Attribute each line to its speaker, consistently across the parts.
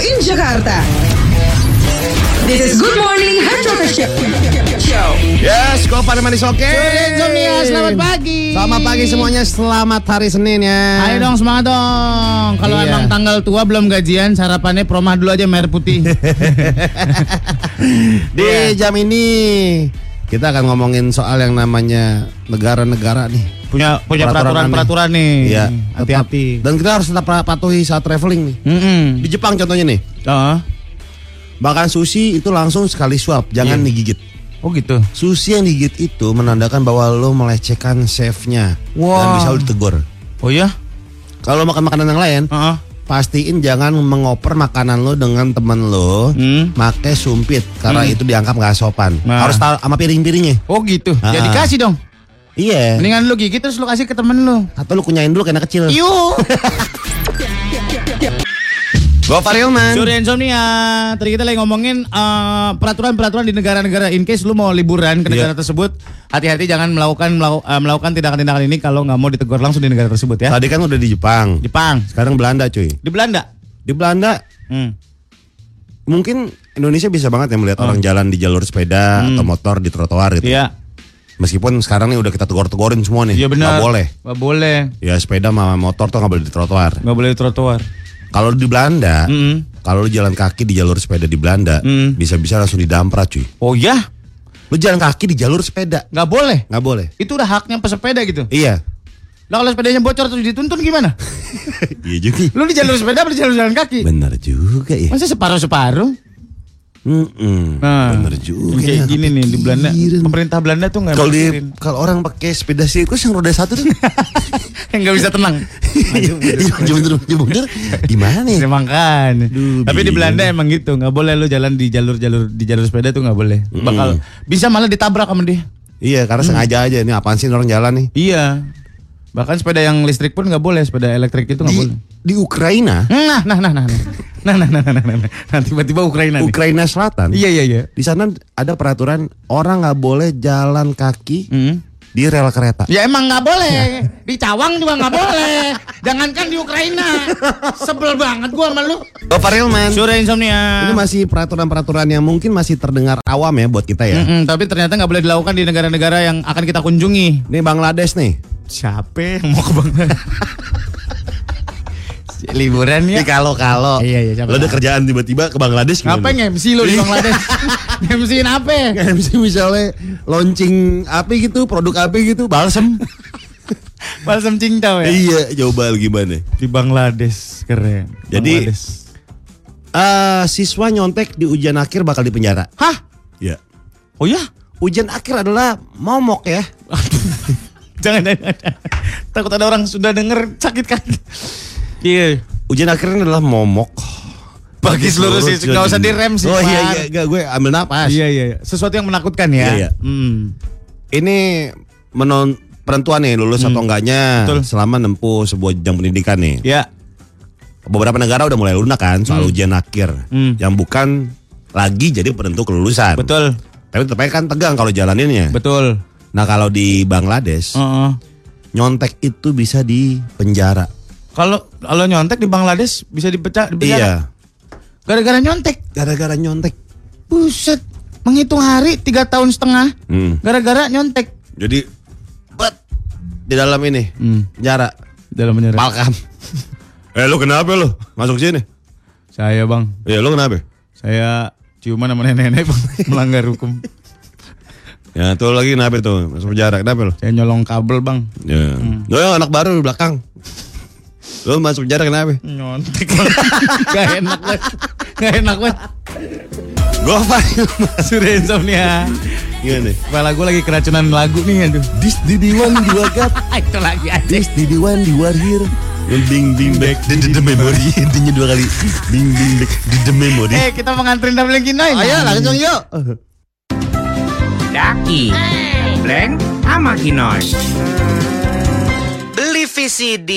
Speaker 1: Jakarta. This is Good Morning Hard Show.
Speaker 2: Yes, go pada manis oke.
Speaker 3: Insomnia, ya, selamat pagi.
Speaker 2: Selamat pagi semuanya, selamat hari Senin ya.
Speaker 3: Ayo dong semangat dong. Kalau
Speaker 2: Iya.
Speaker 3: emang tanggal tua belum gajian, sarapannya promah dulu aja merah putih.
Speaker 2: Di
Speaker 3: Iya.
Speaker 2: jam ini kita akan ngomongin soal yang namanya negara-negara nih.
Speaker 3: punya punya
Speaker 2: Peraturan aneh.
Speaker 3: peraturan-peraturan nih.
Speaker 2: Iya,
Speaker 3: Hati-hati.
Speaker 2: Dan kita harus tetap patuhi saat traveling nih.
Speaker 3: Mm-mm.
Speaker 2: Di Jepang contohnya nih,
Speaker 3: Oh.
Speaker 2: bahkan sushi itu langsung sekali suap, jangan digigit.
Speaker 3: Oh gitu.
Speaker 2: Sushi yang digigit itu menandakan bahwa lo melecehkan chefnya dan
Speaker 3: Wah.
Speaker 2: bisa lo ditegur.
Speaker 3: Oh ya?
Speaker 2: Kalau makan makanan yang lain,
Speaker 3: Heeh.
Speaker 2: pastiin jangan mengoper makanan lo dengan temen lo
Speaker 3: Hmm.
Speaker 2: pakai sumpit karena itu dianggap nggak sopan
Speaker 3: Nah.
Speaker 2: harus taruh sama piring-piringnya
Speaker 3: Oh gitu.
Speaker 2: Ah.
Speaker 3: Jadi kasih dong.
Speaker 2: iya
Speaker 3: Mendingan lu gigit terus lu kasih ke temen lu.
Speaker 2: atau lu kunyain dulu karena kecil
Speaker 3: Yuk.
Speaker 2: gue Farilman
Speaker 3: Sore Insomnia. Tadi kita lagi ngomongin eh, peraturan-peraturan di negara-negara in case lu mau
Speaker 2: Iya.
Speaker 3: liburan ke negara tersebut, hati-hati jangan melakukan melau- eh, melakukan tindakan-tindakan ini kalau nggak mau ditegur langsung di negara tersebut ya.
Speaker 2: tadi kan udah di Jepang
Speaker 3: Jepang,
Speaker 2: sekarang Belanda cuy
Speaker 3: di Belanda.
Speaker 2: di Belanda
Speaker 3: Hmm.
Speaker 2: mungkin Indonesia bisa banget ya melihat orang jalan di jalur sepeda atau motor di trotoar gitu
Speaker 3: Oh. Hmm. Iya.
Speaker 2: meskipun sekarang nih udah kita tegur-tegurin semua nih
Speaker 3: Iya benar.
Speaker 2: Nggak boleh
Speaker 3: Nggak boleh.
Speaker 2: ya sepeda sama motor tuh nggak boleh di trotoar
Speaker 3: Nggak boleh di trotoar. Hmm.
Speaker 2: kalau di Belanda
Speaker 3: Mm-mm.
Speaker 2: kalau lu jalan kaki di jalur sepeda di Belanda
Speaker 3: Hmm.
Speaker 2: bisa-bisa langsung didamprat cuy
Speaker 3: Oh ya?
Speaker 2: Lu jalan kaki di jalur sepeda.
Speaker 3: Nggak boleh.
Speaker 2: Nggak boleh.
Speaker 3: Itu udah haknya pesepeda gitu.
Speaker 2: Iya.
Speaker 3: Lah kalau sepedanya bocor terus dituntun gimana?
Speaker 2: iya juga.
Speaker 3: Lu di jalur sepeda apa di jalur jalan kaki?
Speaker 2: Bener juga ya.
Speaker 3: Masa separuh-separuh?
Speaker 2: Mm-mm.
Speaker 3: Nah,
Speaker 2: Bener juga. ya.
Speaker 3: Kayak gini nih di Belanda.
Speaker 2: Kepikiran.
Speaker 3: Pemerintah Belanda tuh nggak
Speaker 2: Kalau di
Speaker 3: mikirin.
Speaker 2: kalau orang pakai sepeda sirkus yang roda satu tuh Iya,
Speaker 3: yang nggak bisa tenang.
Speaker 2: jemur-jemur gimana ya? nih?
Speaker 3: Emang kan.
Speaker 2: Duh,
Speaker 3: Tapi di
Speaker 2: bingung.
Speaker 3: Belanda emang gitu, nggak boleh lu jalan di jalur-jalur di jalur sepeda tuh nggak boleh. Bakal bisa malah ditabrak sama dia.
Speaker 2: Iya, karena
Speaker 3: Hmm.
Speaker 2: sengaja aja ini apaan sih orang jalan nih?
Speaker 3: Iya. Bahkan sepeda yang listrik pun nggak boleh, sepeda elektrik itu nggak
Speaker 2: Di,
Speaker 3: boleh.
Speaker 2: di Ukraina,
Speaker 3: Nah, nah, nah, nah, nah, nah, nah, nah, nah, nah, nah, nah. Nah, tiba-tiba Ukraina nih.
Speaker 2: Ukraina Selatan.
Speaker 3: Iya, iya, iya.
Speaker 2: Di sana ada peraturan orang nggak boleh jalan kaki
Speaker 3: Hmm.
Speaker 2: di rel kereta.
Speaker 3: Ya emang nggak boleh. Di Cawang juga nggak boleh. Jangankan di Ukraina. Sebel banget gua sama lu.
Speaker 2: Bapak Realman.
Speaker 3: Sore insomnia.
Speaker 2: Ini masih peraturan-peraturan yang mungkin masih terdengar awam ya buat kita ya.
Speaker 3: Mm-mm, tapi ternyata nggak boleh dilakukan di negara-negara yang akan kita kunjungi.
Speaker 2: Ini Bangladesh nih.
Speaker 3: Siapa yang mau ke Bangladesh? Liburan ya.
Speaker 2: Ini kalau-kalau.
Speaker 3: Iya, iya, siapa
Speaker 2: Lo ada
Speaker 3: tahu.
Speaker 2: kerjaan tiba-tiba ke Bangladesh gimana?
Speaker 3: Apa yang MC lo di Bangladesh? MC-in apa?
Speaker 2: MC misalnya launching apa gitu, produk apa gitu, balsem.
Speaker 3: Balsam Cingcau ya.
Speaker 2: iya, coba gimana?
Speaker 3: Di Bangladesh keren.
Speaker 2: Jadi-
Speaker 3: Bangladesh.
Speaker 2: Eh siswa nyontek di ujian akhir bakal dipenjara.
Speaker 3: hah?
Speaker 2: Iya.
Speaker 3: Oh ya?
Speaker 2: Ujian akhir adalah momok ya.
Speaker 3: Jangan jangan, jangan. Takut ada orang sudah denger sakit kan. Iya.
Speaker 2: Ujian akhirnya adalah momok.
Speaker 3: Bagi seluruh siswa. Nggak usah direm sih,
Speaker 2: Oh iya
Speaker 3: Pak.
Speaker 2: iya, Nggak, gue ambil napas.
Speaker 3: Iya iya. Sesuatu yang menakutkan ya.
Speaker 2: Iya, iya.
Speaker 3: Hmm.
Speaker 2: Ini menon perempuan nih lulus atau enggaknya
Speaker 3: Hmm. Betul.
Speaker 2: selama nempuh sebuah jenjang pendidikan nih.
Speaker 3: Ya.
Speaker 2: beberapa negara udah mulai lunak kan soal ujian akhir
Speaker 3: Hmm.
Speaker 2: yang bukan lagi jadi penentu kelulusan.
Speaker 3: Betul.
Speaker 2: Tapi tetap aja kan tegang kalau jalaninnya.
Speaker 3: Betul.
Speaker 2: Nah kalau di Bangladesh
Speaker 3: Heeh.
Speaker 2: nyontek itu bisa di penjara.
Speaker 3: Kalau kalau nyontek di Bangladesh bisa dipecah
Speaker 2: Iya.
Speaker 3: dipenjara. Gara-gara nyontek.
Speaker 2: Gara-gara nyontek.
Speaker 3: Buset. Menghitung hari tiga tahun setengah.
Speaker 2: Hmm.
Speaker 3: Gara-gara nyontek.
Speaker 2: Jadi bet di dalam ini
Speaker 3: Hmm.
Speaker 2: penjara
Speaker 3: Dalam menyerang.
Speaker 2: palkam. eh lu kenapa lu masuk sini?
Speaker 3: Saya bang.
Speaker 2: Ya lu kenapa?
Speaker 3: Saya ciuman sama nenek-nenek Bang. melanggar hukum.
Speaker 2: Ya tuh lagi kenapa tuh masuk penjara kenapa lu?
Speaker 3: Saya nyolong kabel bang.
Speaker 2: Ya.
Speaker 3: Hmm.
Speaker 2: Lu yang anak baru di belakang. lu masuk penjara kenapa?
Speaker 3: Nyontek bang. Gak enak banget. Gak enak banget.
Speaker 2: Gua apa?
Speaker 3: Sudah insomnia.
Speaker 2: Gimana?
Speaker 3: Kepala gue lagi keracunan lagu nih aduh.
Speaker 2: Dis di diwan di wakap,
Speaker 3: Itu lagi aja.
Speaker 2: dis di diwan di warhir. Ding ding back di the memory intinya dua kali. Ding ding back di the memory.
Speaker 3: Eh kita mengantarin double kinai.
Speaker 2: Ayo langsung yuk.
Speaker 4: Daki, Blank, sama Kinos. Beli VCD.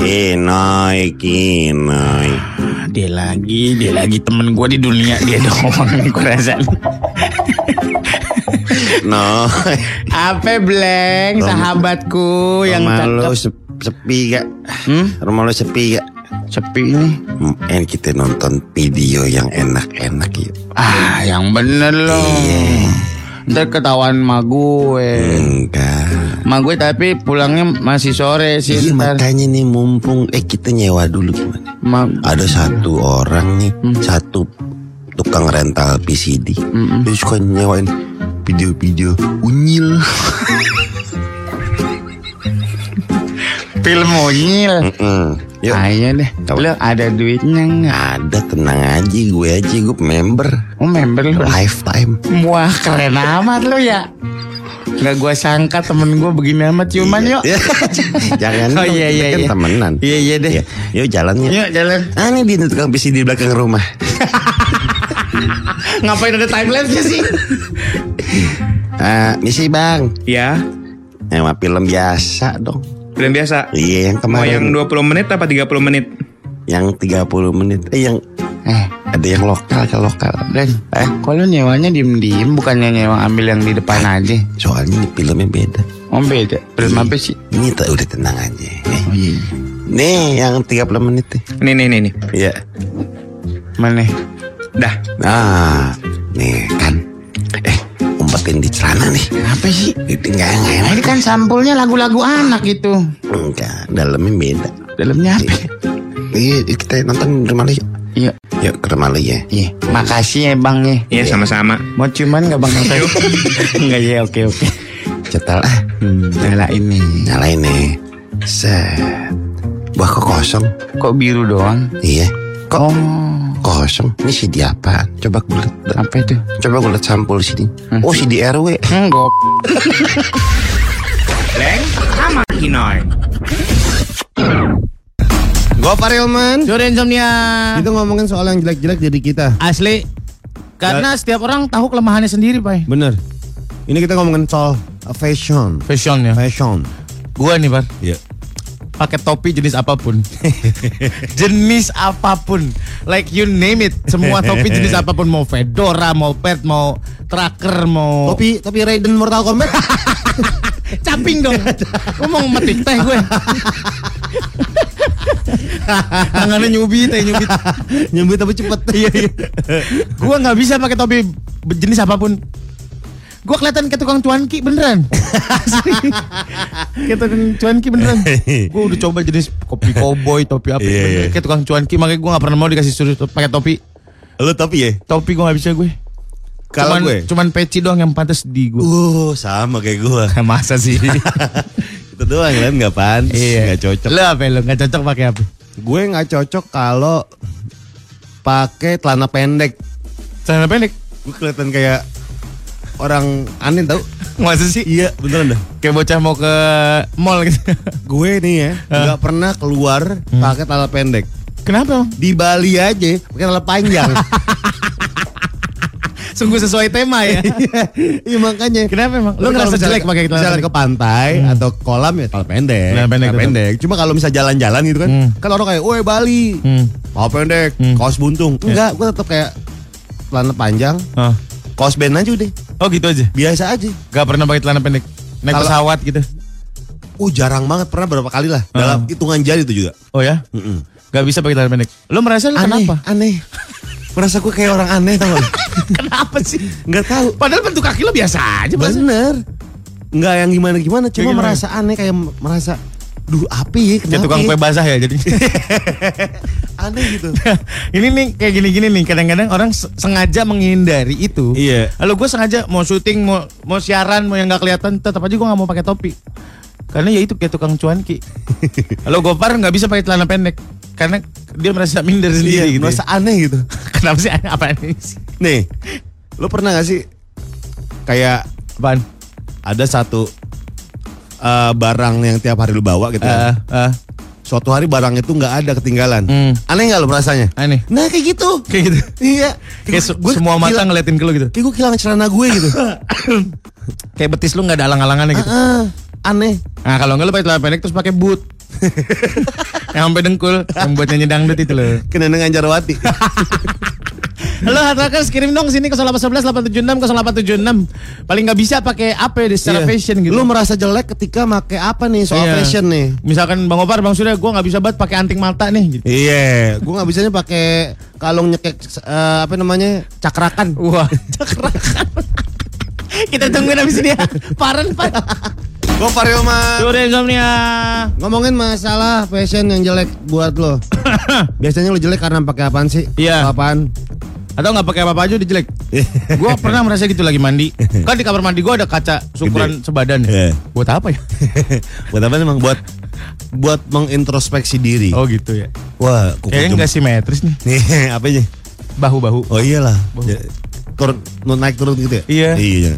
Speaker 2: Kinoi kinoi.
Speaker 4: Dia lagi, dia lagi temen gue di dunia dia doang, gue rasa.
Speaker 2: No.
Speaker 3: Apa Bleng, sahabatku yang
Speaker 2: Rumah
Speaker 3: cakep.
Speaker 2: Hmm? lo sep- sepi gak? Rumah lo sepi gak?
Speaker 5: Sepi nih.
Speaker 6: Eh kita nonton video yang enak-enak yuk.
Speaker 5: Ah,
Speaker 6: Iya.
Speaker 5: yang bener loh. Ntar ketahuan ma
Speaker 6: Iya.
Speaker 5: gue.
Speaker 6: Enggak.
Speaker 5: Ma gue tapi pulangnya masih sore sih.
Speaker 6: Iya
Speaker 5: ntar.
Speaker 6: makanya Iya. nih mumpung eh kita nyewa dulu gimana?
Speaker 5: Ma-
Speaker 6: Ada satu orang nih,
Speaker 2: Hmm.
Speaker 6: satu tukang rental PCD.
Speaker 2: hmm.
Speaker 6: Dia suka nyewain video-video unyil.
Speaker 5: film
Speaker 2: Hmm.
Speaker 5: monyil.
Speaker 6: Mm-mm. Yuk.
Speaker 5: Ayo deh.
Speaker 6: Apa?
Speaker 5: Lo ada duitnya nggak?
Speaker 6: Ada tenang aja gue aja gue member
Speaker 5: Oh member lo.
Speaker 6: Iya. lifetime.
Speaker 5: Wah keren amat lo ya. Nggak gue sangka temen gue begini amat ciuman yuk.
Speaker 6: Iya.
Speaker 2: Ya,
Speaker 6: Jangan
Speaker 5: Oh, iya,
Speaker 6: dong,
Speaker 5: iya,
Speaker 6: kan
Speaker 5: iya.
Speaker 6: temenan.
Speaker 5: Iya, iya deh.
Speaker 2: ya,
Speaker 6: Yuk jalannya.
Speaker 5: Yuk jalan.
Speaker 6: Ah ini dia nih tukang PC di belakang rumah.
Speaker 5: Ngapain ada time lapse sih?
Speaker 6: Eh, misi bang.
Speaker 4: Ya,
Speaker 6: Emang film biasa dong.
Speaker 4: film biasa.
Speaker 6: Iya yang
Speaker 5: Oh,
Speaker 4: Mau
Speaker 6: kemarin.
Speaker 4: yang 20 menit apa 30 menit?
Speaker 6: yang 30 menit. Eh yang
Speaker 5: Eh,
Speaker 6: ada yang lokal ke lokal.
Speaker 5: Dan, eh, kok lu nyewanya diem-diem bukannya nyewa ambil yang di depan aja?
Speaker 6: Soalnya ini filmnya beda.
Speaker 5: Om beda, belum
Speaker 6: Iya.
Speaker 5: apa sih?
Speaker 6: Ini tak udah tenang aja. Nih,
Speaker 5: Oh iya,
Speaker 6: nih yang 30 menit nih.
Speaker 4: Nih nih nih nih.
Speaker 6: Iya.
Speaker 5: mana?
Speaker 4: Dah.
Speaker 6: Nah, nih kan. Eh, umpetin di celana nih.
Speaker 5: Apa sih?
Speaker 6: Itu enggak enggak
Speaker 5: Nah,
Speaker 6: enak.
Speaker 5: ini kan sampulnya lagu-lagu anak gitu.
Speaker 6: Enggak, dalamnya beda.
Speaker 5: Dalamnya apa?
Speaker 6: Iya, kita nonton di rumah lu yuk.
Speaker 5: Iya,
Speaker 6: Yuk ke rumah lu ya.
Speaker 5: iya. Makasih ya bang ya.
Speaker 4: Iya sama-sama.
Speaker 5: Mau cuman nggak bang? Enggak ya, oke oke.
Speaker 6: Cetal ah.
Speaker 5: Hmm, nyala ini.
Speaker 6: Nyalain nih. Set. Wah kok kosong?
Speaker 5: Kok biru doang?
Speaker 6: Iya. Kok
Speaker 5: Oh,
Speaker 6: kosong? Ini CD apaan? Coba gue liat.
Speaker 5: apa itu?
Speaker 6: Coba gue liat sampul sini. Oh CD RW.
Speaker 5: Hmm, gop.
Speaker 4: Leng sama Kinoy.
Speaker 6: Gue Farilman.
Speaker 3: Sore insomnia.
Speaker 6: Kita ngomongin soal yang jelek-jelek jadi kita.
Speaker 3: Asli. Karena setiap orang tahu kelemahannya sendiri, Pak.
Speaker 2: Bener. Ini kita ngomongin soal fashion.
Speaker 3: Fashion ya.
Speaker 2: Fashion.
Speaker 3: Gua nih, Pak.
Speaker 2: Iya.
Speaker 3: pakai topi jenis apapun. jenis apapun. Like you name it. Semua topi jenis apapun mau fedora, mau pet, mau tracker,
Speaker 2: Oh.
Speaker 3: mau
Speaker 2: Topi, topi Raiden Mortal Kombat.
Speaker 3: caping dong. Gua mau metik teh gue. Tangannya nyubi, teh nyubi.
Speaker 2: Nyembut tapi cepet. Iya, iya.
Speaker 3: Gua nggak bisa pakai topi jenis apapun. Gua kelihatan kayak tukang cuanki beneran. Asli. kayak tukang cuanki beneran. Gua udah coba jenis kopi cowboy, topi apa
Speaker 2: Iya,
Speaker 3: bener.
Speaker 2: iya.
Speaker 3: kayak tukang cuanki makanya gua nggak pernah mau dikasih suruh to- pakai topi.
Speaker 2: Lu topi ya?
Speaker 3: Topi gua nggak bisa gue.
Speaker 2: Kalau
Speaker 3: cuman,
Speaker 2: gue?
Speaker 3: cuman peci doang yang pantas di gua.
Speaker 2: Uh, sama kayak gua.
Speaker 3: Masa sih?
Speaker 2: Itu doang yang lain nggak pantas, nggak cocok.
Speaker 3: Lo apa lo? Nggak cocok pakai apa?
Speaker 2: Iya. Gue nggak cocok kalau pakai celana pendek.
Speaker 3: Celana pendek.
Speaker 2: Gue kelihatan kayak orang aneh tau.
Speaker 3: Masa sih?
Speaker 2: Iya, beneran dah.
Speaker 3: Kayak bocah mau ke mall gitu.
Speaker 2: Gue nih ya, nggak pernah keluar
Speaker 3: Hmm.
Speaker 2: pakai celana pendek.
Speaker 3: Kenapa?
Speaker 2: Di Bali aja pakai celana panjang.
Speaker 3: Sungguh sesuai tema ya.
Speaker 2: Iya makanya.
Speaker 3: Kenapa emang?
Speaker 2: Lu
Speaker 3: Lo
Speaker 2: kalau
Speaker 3: ngerasa
Speaker 2: misalnya-
Speaker 3: jelek pakai celana
Speaker 2: misalnya
Speaker 3: pendek?
Speaker 2: ke pantai atau ke kolam ya kalau pendek.
Speaker 3: Celana pendek
Speaker 2: Celana
Speaker 3: tetap.
Speaker 2: pendek. Cuma kalau misalnya jalan-jalan gitu kan,
Speaker 3: Hmm.
Speaker 2: kan orang kayak, "Woi, Bali."
Speaker 3: Hmm. Ya.
Speaker 2: Mau pendek, kaos buntung. Enggak, gua tetap kayak celana panjang,
Speaker 3: Ah.
Speaker 2: kaos band aja udah.
Speaker 3: Oh gitu aja.
Speaker 2: Biasa aja.
Speaker 3: Gak pernah pakai celana pendek. Naik
Speaker 2: Kalau-
Speaker 3: pesawat gitu.
Speaker 2: Uh, jarang banget pernah berapa kali lah. Dalam
Speaker 3: Ah.
Speaker 2: hitungan jari itu juga.
Speaker 3: Oh ya?
Speaker 2: Mm-mm.
Speaker 3: Gak bisa pakai celana pendek. Lo merasa lo
Speaker 2: Aneh,
Speaker 3: kenapa?
Speaker 2: Aneh. Merasa gue kayak orang aneh tau gak?
Speaker 3: Kenapa sih?
Speaker 2: Enggak tahu.
Speaker 3: Padahal bentuk kaki lo biasa aja. Mas.
Speaker 2: Bener. Enggak yang gimana-gimana,
Speaker 3: Kayak
Speaker 2: cuma
Speaker 3: gimana?
Speaker 2: merasa aneh kayak merasa Duh, apa ya?
Speaker 3: Kayak
Speaker 2: Kenapa
Speaker 3: tukang
Speaker 2: ya?
Speaker 3: kue basah ya jadi.
Speaker 2: Aneh gitu.
Speaker 3: ini nih kayak gini-gini nih kadang-kadang orang se- sengaja menghindari itu.
Speaker 2: Iya.
Speaker 3: Lalu gue sengaja mau syuting, mau mau siaran, mau yang nggak kelihatan, tetap aja gue nggak mau pakai topi. Karena ya itu kayak tukang cuanki. Lalu Gopar nggak bisa pakai celana pendek karena dia merasa minder
Speaker 2: Iya,
Speaker 3: sendiri gitu.
Speaker 2: merasa
Speaker 3: ya.
Speaker 2: aneh gitu.
Speaker 3: Kenapa sih apa ini sih?
Speaker 2: Nih, lo pernah gak sih kayak
Speaker 3: Apaan?
Speaker 2: ada satu eh, barang yang tiap hari lo bawa gitu
Speaker 3: Eh,
Speaker 2: kan?
Speaker 3: eh,
Speaker 2: Suatu hari barang itu nggak ada ketinggalan.
Speaker 3: Hmm.
Speaker 2: Aneh nggak lo rasanya?
Speaker 3: Aneh.
Speaker 2: Nah kayak gitu.
Speaker 3: kayak gitu.
Speaker 2: Iya.
Speaker 3: Kayak se- semua mata
Speaker 2: kila-
Speaker 3: ngeliatin ke lu gitu.
Speaker 2: Kayak gue kehilangan celana gue gitu.
Speaker 3: Kayak betis lu nggak ada alang-alangannya gitu.
Speaker 2: Heeh, aneh.
Speaker 3: Nah kalau nggak lu pakai celana pendek terus pakai boot. yang sampai dengkul, yang buat nyanyi dangdut itu loh.
Speaker 2: Kena dengan Jarwati.
Speaker 3: Halo Hatrakers kirim dong sini ke 0811 876 0876. Paling nggak bisa pakai apa deh secara
Speaker 6: Iya.
Speaker 3: fashion gitu.
Speaker 6: Lu merasa jelek ketika make apa nih soal
Speaker 3: Iya.
Speaker 6: fashion nih?
Speaker 3: Misalkan Bang Opar, Bang Surya, gue nggak bisa banget pakai anting mata nih. Gitu.
Speaker 2: Iya,
Speaker 6: Gue nggak bisanya pakai kalung nyekek eh, apa namanya cakrakan.
Speaker 3: Wah, cakrakan. Kita tungguin abis ini ya. Paren, Pak.
Speaker 6: Gue Parioman.
Speaker 3: Sore insomnia.
Speaker 6: Ngomongin masalah fashion yang jelek buat lo. Biasanya lo jelek karena pakai apaan sih?
Speaker 3: Iya.
Speaker 6: Apaan?
Speaker 3: Atau nggak pakai apa-apa aja udah jelek. gue pernah merasa gitu lagi mandi. Kan di kamar mandi gue ada kaca ukuran sebadan.
Speaker 2: Iya.
Speaker 3: ya. Buat apa ya?
Speaker 2: buat apa emang buat?
Speaker 6: Buat mengintrospeksi diri.
Speaker 3: oh gitu ya.
Speaker 2: Wah, kuku
Speaker 3: Kayaknya
Speaker 2: jem-
Speaker 3: nggak simetris nih.
Speaker 2: Nih, apanya?
Speaker 3: Bahu-bahu.
Speaker 2: Oh iyalah.
Speaker 3: Bau.
Speaker 6: Ya,
Speaker 2: Ja- Turun, naik turun gitu ya?
Speaker 3: Iya.
Speaker 2: Iya.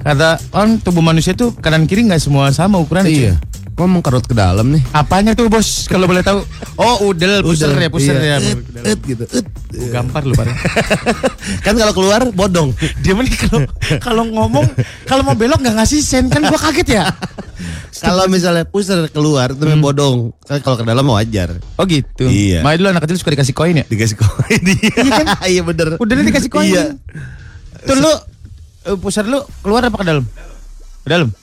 Speaker 3: Kata kan tubuh manusia tuh kanan kiri nggak semua sama ukuran.
Speaker 6: Iya. Kok mengkerut ke dalam nih?
Speaker 3: Apanya tuh bos? Kalau boleh tahu. Oh udel, puser ya, puser
Speaker 6: Iya.
Speaker 3: ya.
Speaker 6: Ut, ut gitu. Ut.
Speaker 3: Gampar lu Pak.
Speaker 6: Kan kalau keluar bodong.
Speaker 3: Dia mah nih kalau kalau ngomong kalau mau belok nggak ngasih sen kan gua kaget ya.
Speaker 6: Kalau misalnya pusar keluar itu bodong. Kan Kalau ke dalam wajar.
Speaker 3: Oh gitu.
Speaker 2: Iya.
Speaker 3: Makanya dulu anak kecil suka dikasih koin ya.
Speaker 2: Dikasih koin dia.
Speaker 6: Iya bener.
Speaker 3: kan? Udah nih dikasih koin.
Speaker 6: Iya.
Speaker 3: Tuh lu eh, pusar lu keluar apa ke dalam? Ke dalam.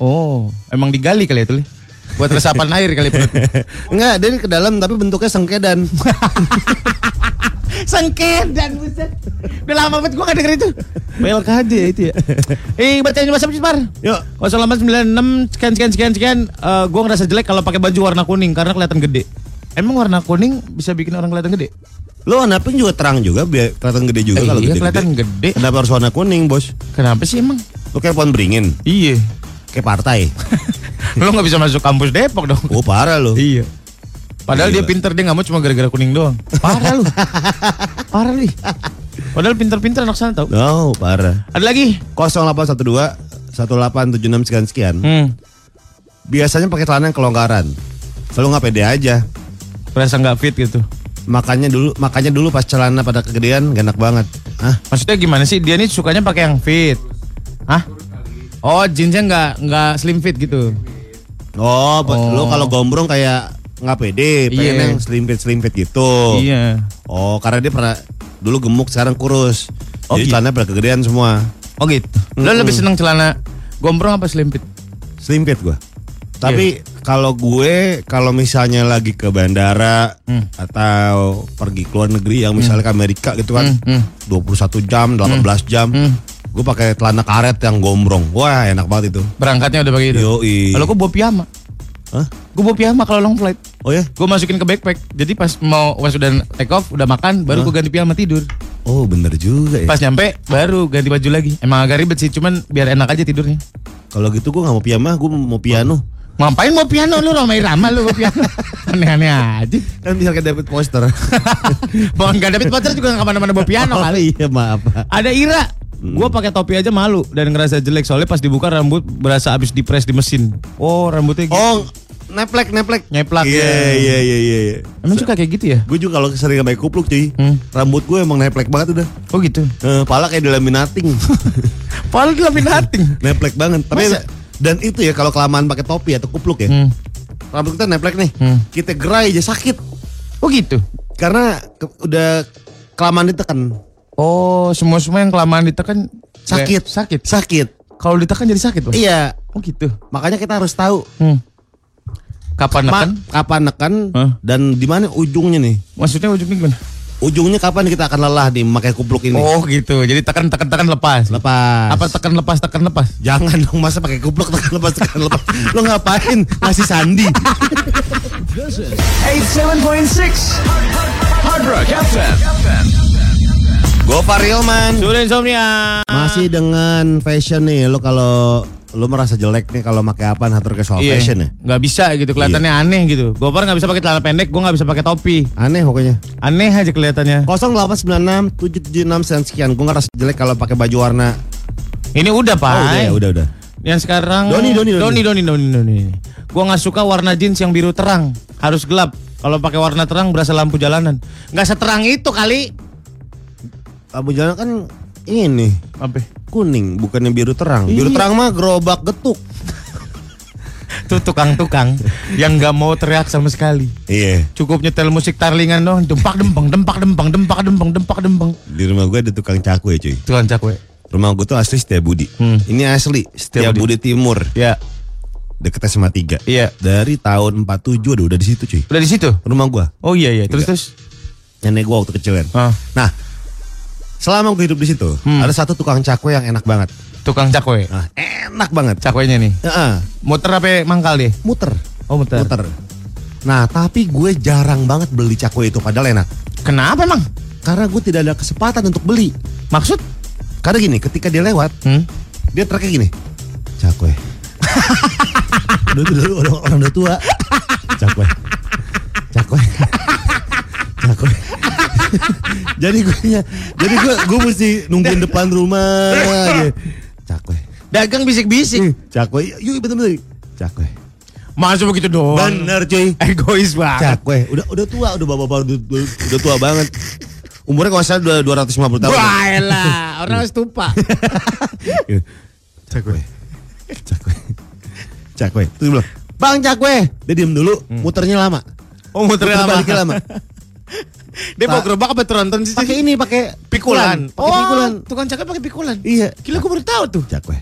Speaker 3: Oh, emang digali kali ya tuh. Li? Buat resapan air kali ya, perut.
Speaker 6: Enggak, dia ke dalam tapi bentuknya sengkedan.
Speaker 3: Sengket dan buset. Udah lama banget gua gak denger itu. BLKD ya itu ya. Eh, bacain WhatsApp Cipar.
Speaker 2: Yuk.
Speaker 3: 0896 sekian sekian sekian sekian. Eh, gua ngerasa jelek kalau pakai baju warna kuning karena kelihatan gede. Emang warna kuning bisa bikin orang kelihatan gede?
Speaker 2: Lo warna pink juga terang juga, biar kelihatan gede juga
Speaker 3: Eh,
Speaker 2: kalau
Speaker 3: iya,
Speaker 2: gede-gede.
Speaker 3: kelihatan gede.
Speaker 2: Kenapa harus warna kuning, Bos?
Speaker 3: Kenapa sih emang?
Speaker 2: Lo kayak pohon beringin,
Speaker 3: Iya.
Speaker 2: kayak partai.
Speaker 3: Lo nggak bisa masuk kampus Depok dong.
Speaker 2: Oh, parah lo.
Speaker 3: Iya. Padahal
Speaker 2: Gila.
Speaker 3: dia pinter dia nggak mau cuma gara-gara kuning doang. Parah lu. Parah lu. ih. Padahal pinter-pinter anak sana tau.
Speaker 2: Oh, parah.
Speaker 3: Ada lagi?
Speaker 2: 0812 1876 sekian sekian.
Speaker 3: Hmm.
Speaker 2: Biasanya pakai celana yang kelonggaran. Kalau nggak pede aja.
Speaker 3: Rasa nggak fit gitu.
Speaker 2: Makanya dulu makanya dulu pas celana pada kegedean gak enak banget. Hah?
Speaker 3: Maksudnya gimana sih? Dia nih sukanya pakai yang fit. Hah? Oh, jeansnya nggak nggak slim fit gitu.
Speaker 2: Oh, buat
Speaker 3: Oh.
Speaker 2: lo kalau gombrong kayak nggak pede, pengen
Speaker 3: Iya.
Speaker 2: yang slim fit slim fit gitu.
Speaker 3: Iya.
Speaker 2: Oh, karena dia pernah dulu gemuk sekarang kurus.
Speaker 3: Oh,
Speaker 2: Jadi
Speaker 3: gitu.
Speaker 2: celana pada kegedean semua.
Speaker 3: Oh gitu. Lo lebih seneng celana gombrong apa slim fit?
Speaker 2: Slim fit gua. Tapi kalau gue kalau misalnya lagi ke bandara atau pergi ke luar negeri yang misalnya ke Amerika gitu kan 21 jam, 18 jam, gue pakai celana karet yang gombrong. Wah, enak banget itu.
Speaker 3: Berangkatnya udah pakai itu.
Speaker 2: Yoi.
Speaker 3: Kalau gue bawa piyama.
Speaker 2: Hah?
Speaker 3: Gue bawa piyama kalau long flight.
Speaker 2: Oh ya?
Speaker 3: Gue masukin ke backpack. Jadi pas mau pas udah take off, udah makan, baru gue ganti piyama tidur.
Speaker 2: Oh, bener juga ya.
Speaker 3: Pas nyampe baru ganti baju lagi. Emang agak ribet sih, cuman biar enak aja tidurnya.
Speaker 2: Kalau gitu gue nggak mau piyama, gue mau piano.
Speaker 3: Ngapain mau piano lu ramai-ramai lu mau piano. Aneh-aneh aja.
Speaker 2: Kan bisa kayak David Poster.
Speaker 3: Bang gak David Potter juga gak kemana-mana bawa piano
Speaker 2: Oh,
Speaker 3: kali.
Speaker 2: iya, maaf.
Speaker 3: Ada Ira.
Speaker 2: Hmm.
Speaker 3: Gue pakai topi aja malu dan ngerasa jelek soalnya pas dibuka rambut berasa abis dipres di mesin. Oh rambutnya gitu.
Speaker 2: Oh, neplek, neplek.
Speaker 3: Nyeplak
Speaker 2: Iya, iya, iya, iya. iya.
Speaker 3: Emang suka kayak gitu ya?
Speaker 2: Gue juga kalau sering pakai kupluk cuy,
Speaker 3: Hmm.
Speaker 2: rambut gue emang neplek banget udah.
Speaker 3: Oh gitu.
Speaker 2: Eh, pala kayak dilaminating.
Speaker 3: Paling lebih nating.
Speaker 2: neplek banget. Tapi
Speaker 3: Masa?
Speaker 2: dan itu ya kalau kelamaan pakai topi atau kupluk ya.
Speaker 3: Hmm.
Speaker 2: Rambut kita neplek nih.
Speaker 3: Hmm.
Speaker 2: Kita gerai aja sakit.
Speaker 3: Oh gitu.
Speaker 2: Karena ke- udah kelamaan ditekan.
Speaker 3: Oh semua semua yang kelamaan ditekan
Speaker 2: Sakit.
Speaker 3: kayak- sakit.
Speaker 2: Sakit.
Speaker 3: Kalau ditekan jadi sakit Bang?
Speaker 2: Iya.
Speaker 3: Oh gitu.
Speaker 2: Makanya kita harus tahu
Speaker 3: Hmm. Kapan
Speaker 2: ma-
Speaker 3: nekan?
Speaker 2: kapan neken
Speaker 3: Hah?
Speaker 2: dan di mana ujungnya nih.
Speaker 3: Maksudnya ujungnya gimana?
Speaker 2: Ujungnya kapan kita akan lelah nih memakai kupluk ini.
Speaker 3: Oh gitu. Jadi tekan tekan tekan lepas.
Speaker 2: Lepas.
Speaker 3: Apa tekan lepas tekan lepas?
Speaker 2: Jangan dong masa pakai kupluk tekan lepas tekan lepas. Lo ngapain ngasih sandi?
Speaker 7: 87.6 Hard Rock FM.
Speaker 2: Gopar Hilman.
Speaker 3: Sudah insomnia.
Speaker 2: Masih dengan fashion nih, lo kalau lo merasa jelek nih kalau pakai apa atur ke
Speaker 3: Iya.
Speaker 2: soal fashion ya?
Speaker 3: Nggak bisa gitu kelihatannya aneh gitu. Gopar nggak bisa pakai celana pendek, gua nggak bisa pakai topi.
Speaker 2: Aneh pokoknya.
Speaker 3: Aneh aja kelihatannya.
Speaker 2: 0896 776 sekian sekian. Gue ngerasa jelek kalau pakai baju warna.
Speaker 3: Ini udah, Pak.
Speaker 2: Oh, udah ya, udah udah.
Speaker 3: Yang sekarang
Speaker 2: Doni, Doni, Doni.
Speaker 3: Doni Doni Doni Doni. Gua nggak suka warna jeans yang biru terang, harus gelap. Kalau pakai warna terang berasa lampu jalanan. Nggak seterang itu kali.
Speaker 2: Kamu jalan kan ini
Speaker 3: Apa?
Speaker 2: kuning, bukannya biru terang. Biru
Speaker 3: Iya.
Speaker 2: terang mah gerobak getuk.
Speaker 3: itu tukang-tukang yang nggak mau teriak sama sekali.
Speaker 2: Iya.
Speaker 3: Cukup nyetel musik tarlingan dong, dempak dempeng, dempak dempeng, dempak dempeng, dempak dempeng.
Speaker 2: Di rumah gue ada tukang cakwe cuy.
Speaker 3: Tuhan cakwe.
Speaker 2: Rumah gue tuh asli Setia Budi.
Speaker 3: Hmm.
Speaker 2: Ini asli Setia,
Speaker 3: Budi.
Speaker 2: Budi. Timur.
Speaker 3: Ya,
Speaker 2: Deket SMA 3.
Speaker 3: Iya.
Speaker 2: Dari tahun 47 udah, udah di situ cuy.
Speaker 3: udah di situ.
Speaker 2: Rumah gue.
Speaker 3: Oh iya iya, terus terus.
Speaker 2: Nenek gue waktu kecil kan.
Speaker 3: Ah. Hmm.
Speaker 2: Nah, selama gue hidup di situ, ada satu tukang cakwe yang enak banget.
Speaker 3: Tukang cakwe.
Speaker 2: Nah, enak banget.
Speaker 3: Cakwenya nih.
Speaker 2: Heeh,
Speaker 3: Muter apa mangkal deh?
Speaker 2: muter.
Speaker 3: Oh, muter.
Speaker 2: Muter. Nah, tapi gue jarang banget beli cakwe itu padahal enak.
Speaker 3: Kenapa emang?
Speaker 2: Karena gue tidak ada kesempatan untuk beli.
Speaker 3: Maksud?
Speaker 2: Karena gini, ketika dia lewat,
Speaker 3: Hmm?
Speaker 2: dia teriaknya gini. Cakwe. Udah tuh, dulu orang, orang udah tua. Cakwe. Cakwe. Cakwe. jadi gue jadi gue gue mesti nungguin depan rumah aja. Cakwe.
Speaker 3: Dagang bisik-bisik.
Speaker 2: Cakwe. Yuk bener-bener. Cakwe.
Speaker 3: Masa begitu dong.
Speaker 2: Bener cuy.
Speaker 3: Egois banget.
Speaker 2: Cakwe. Udah udah tua, udah bapak-bapak udah, udah- udah tua banget. Umurnya kalau nggak salah udah 250 tahun.
Speaker 3: Wah, elah, orang harus tupa.
Speaker 2: Cakwe. Cakwe. Cakwe. Terus dia bilang, Bang Cakwe. Dia diem dulu, muternya lama.
Speaker 3: Oh, muter
Speaker 2: Muter
Speaker 3: lama.
Speaker 2: baliknya lama.
Speaker 3: Dia bawa gerobak apa tronton sih?
Speaker 2: Pakai ini, pakai
Speaker 3: pikulan. Oh,
Speaker 2: Pakai pikulan.
Speaker 3: tukang cakwe pakai pikulan.
Speaker 2: Iya.
Speaker 3: Gila gue baru tahu tuh.
Speaker 2: Cakwe.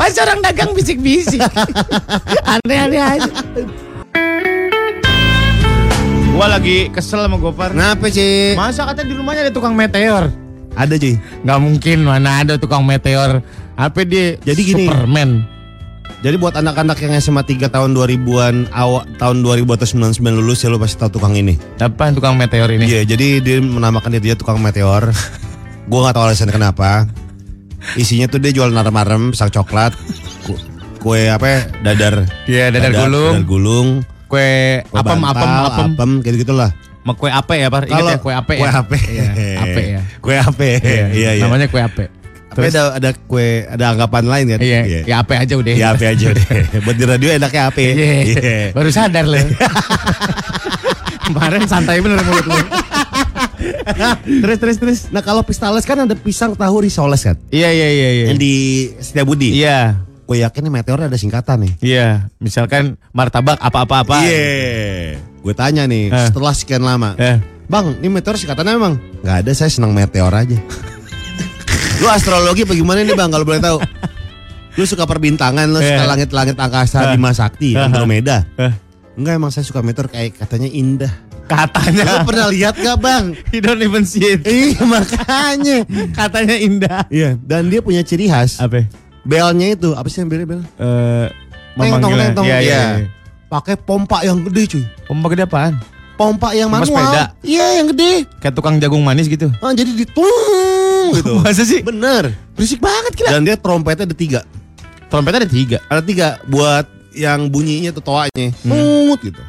Speaker 3: Pas orang dagang bisik-bisik. Aneh-aneh aja. Gua lagi kesel sama Gopar.
Speaker 2: Kenapa sih?
Speaker 3: Masa kata di rumahnya ada tukang meteor?
Speaker 2: Ada cuy.
Speaker 3: Gak mungkin mana ada tukang meteor. Apa dia
Speaker 2: Jadi gini.
Speaker 3: Superman?
Speaker 2: Jadi buat anak-anak yang SMA 3 tahun 2000-an awal tahun 2000 atau 99 lulus ya lu pasti tahu tukang ini.
Speaker 3: Apa tukang meteor ini?
Speaker 2: Iya, jadi dia menamakan dirinya tukang meteor. Gue nggak tahu alasan kenapa. Isinya tuh dia jual narem-narem, pisang coklat, ku- kue apa ya, dadar.
Speaker 3: Iya, dadar gulung.
Speaker 2: Dadar gulung.
Speaker 3: Kue
Speaker 2: kue
Speaker 3: apem, apem,
Speaker 2: bantal,
Speaker 3: apem.
Speaker 2: apem, gitu gitulah.
Speaker 3: Ma- Kue ape ya, Par? Ingat ya, kue ape ya?
Speaker 2: kue ape,
Speaker 3: Iya, ape ya.
Speaker 2: kue ape, iya iya.
Speaker 3: Namanya kue ape.
Speaker 2: Tapi ada ada kue ada anggapan lain kan?
Speaker 3: Iya, ya ape aja udah.
Speaker 2: Ya ape aja deh. Buat di radio enaknya ape.
Speaker 3: Iya.
Speaker 2: Iya.
Speaker 3: Baru sadar loh. Kemarin santai bener mulut lu.
Speaker 2: Terus terus terus. Nah kalau pistales kan ada pisang tahu risoles kan?
Speaker 3: Iya, iya, iya, iya.
Speaker 2: Yang di Setiabudi.
Speaker 3: Iya.
Speaker 2: Gue yakin nih meteor ada singkatan nih.
Speaker 3: Iya, misalkan martabak apa-apa-apa.
Speaker 2: Iya. Gue tanya nih,
Speaker 3: Eh.
Speaker 2: setelah sekian lama.
Speaker 3: Eh.
Speaker 2: Bang, ini meteor singkatannya emang? Gak ada, saya senang meteor aja. lu astrologi apa gimana nih bang, kalau boleh tahu? Lu suka perbintangan, lu suka
Speaker 3: Eh.
Speaker 2: langit-langit angkasa Bima Sakti, Andromeda.
Speaker 3: Eh.
Speaker 2: Enggak emang saya suka meteor kayak katanya indah. Lu
Speaker 3: Katanya
Speaker 2: pernah lihat gak bang?
Speaker 3: You don't even see it.
Speaker 2: Iya makanya.
Speaker 3: Katanya indah.
Speaker 2: Iya, dan dia punya ciri khas.
Speaker 3: Apa?
Speaker 2: Belnya itu, apa sih yang belnya bel?
Speaker 3: Eh,
Speaker 2: Teng, tong, teng, tong.
Speaker 3: Iya, iya. iya.
Speaker 2: Pakai pompa yang gede cuy.
Speaker 3: Pompa gede apaan?
Speaker 2: Pompa yang
Speaker 3: Pompa
Speaker 2: manual.
Speaker 3: sepeda.
Speaker 2: Iya, yang gede.
Speaker 3: Kayak tukang jagung manis gitu.
Speaker 2: Ah, jadi ditung gitu.
Speaker 3: Masa sih?
Speaker 2: Bener.
Speaker 3: Berisik banget gila.
Speaker 2: Dan dia trompetnya ada tiga.
Speaker 3: Trompetnya ada tiga. Hmm.
Speaker 2: Ada tiga buat yang bunyinya atau toanya. Tungut gitu.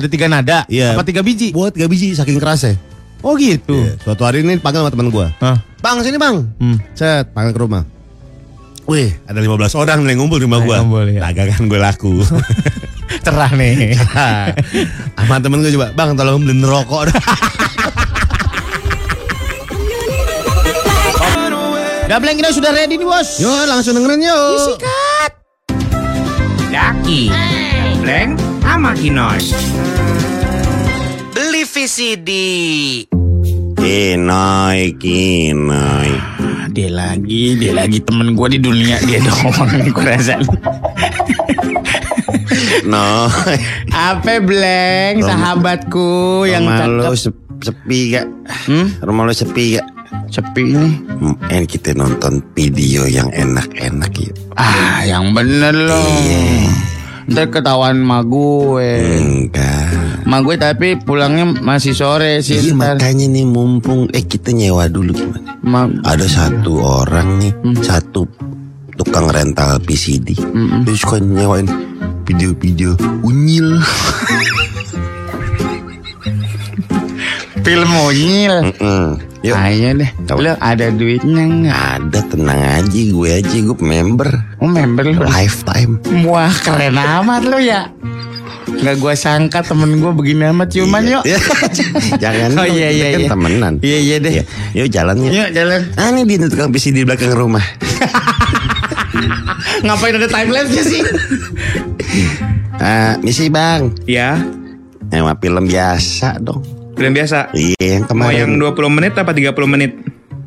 Speaker 3: Ada tiga nada.
Speaker 2: Iya.
Speaker 3: Apa tiga biji?
Speaker 2: Buat tiga biji saking kerasnya.
Speaker 3: Oh gitu.
Speaker 2: Iya. Suatu hari ini dipanggil sama teman gue.
Speaker 3: Hah?
Speaker 2: Bang sini bang.
Speaker 3: Hmm.
Speaker 2: Set, panggil ke rumah. Wih, ada 15 orang yang ngumpul di rumah gue.
Speaker 3: Yang ngumpul, iya.
Speaker 2: Dagangan gue laku.
Speaker 3: Cerah nih.
Speaker 2: Hah. sama temen gue coba, bang tolong beliin rokok.
Speaker 3: Dableng kita sudah ready nih bos.
Speaker 2: Yo, langsung dengerin yo.
Speaker 4: Daki. Bleng sama Kinoy.
Speaker 8: Beli VCD.
Speaker 6: Kinoy, kinoy.
Speaker 5: Ah, Dia lagi, dia lagi temen gue di dunia dia doang nih gue rasa.
Speaker 6: Noy.
Speaker 5: Apa Bleng, sahabatku yang
Speaker 6: Rumah lu
Speaker 5: cakep. Hmm?
Speaker 6: se- sepi gak? Rumah lu sepi gak?
Speaker 5: Sepi nih.
Speaker 6: Hmm, En kita nonton video yang enak-enak ya. yuk.
Speaker 5: Ah, yang bener loh.
Speaker 3: Iya.
Speaker 5: Ntar ketahuan ma gue.
Speaker 6: Enggak.
Speaker 5: Ma gue tapi pulangnya masih sore sih
Speaker 6: Iya
Speaker 5: ntar.
Speaker 6: makanya nih mumpung eh kita nyewa dulu gimana?
Speaker 5: Ma
Speaker 6: Ada satu orang nih, satu tukang rental PCD. Dia suka nyewain video-video unyil.
Speaker 5: film monyil.
Speaker 6: Mm-mm. Yuk.
Speaker 5: Ayo deh.
Speaker 6: Tahu.
Speaker 5: Lo ada duitnya nggak?
Speaker 6: Ya, Ada tenang aja gue aja gue member
Speaker 5: Oh member lo.
Speaker 6: lifetime.
Speaker 5: Wah keren amat lo ya. Nggak gue sangka temen gue begini amat ciuman yuk.
Speaker 6: Iya. Jangan
Speaker 5: Oh,
Speaker 6: dong,
Speaker 5: iya,
Speaker 6: kita
Speaker 5: iya,
Speaker 6: kan
Speaker 5: iya.
Speaker 6: temenan.
Speaker 5: Iya iya deh.
Speaker 6: Iya. Yuk jalannya.
Speaker 5: Yuk jalan.
Speaker 6: Ah ini dia nih tukang PC di belakang rumah.
Speaker 5: Ngapain ada time lapse sih?
Speaker 6: Eh, misi bang,
Speaker 4: Ya,
Speaker 6: emang film biasa dong.
Speaker 4: film biasa.
Speaker 6: Iya yang
Speaker 5: Oh,
Speaker 4: Mau
Speaker 6: kemarin.
Speaker 4: yang 20 menit apa 30 menit?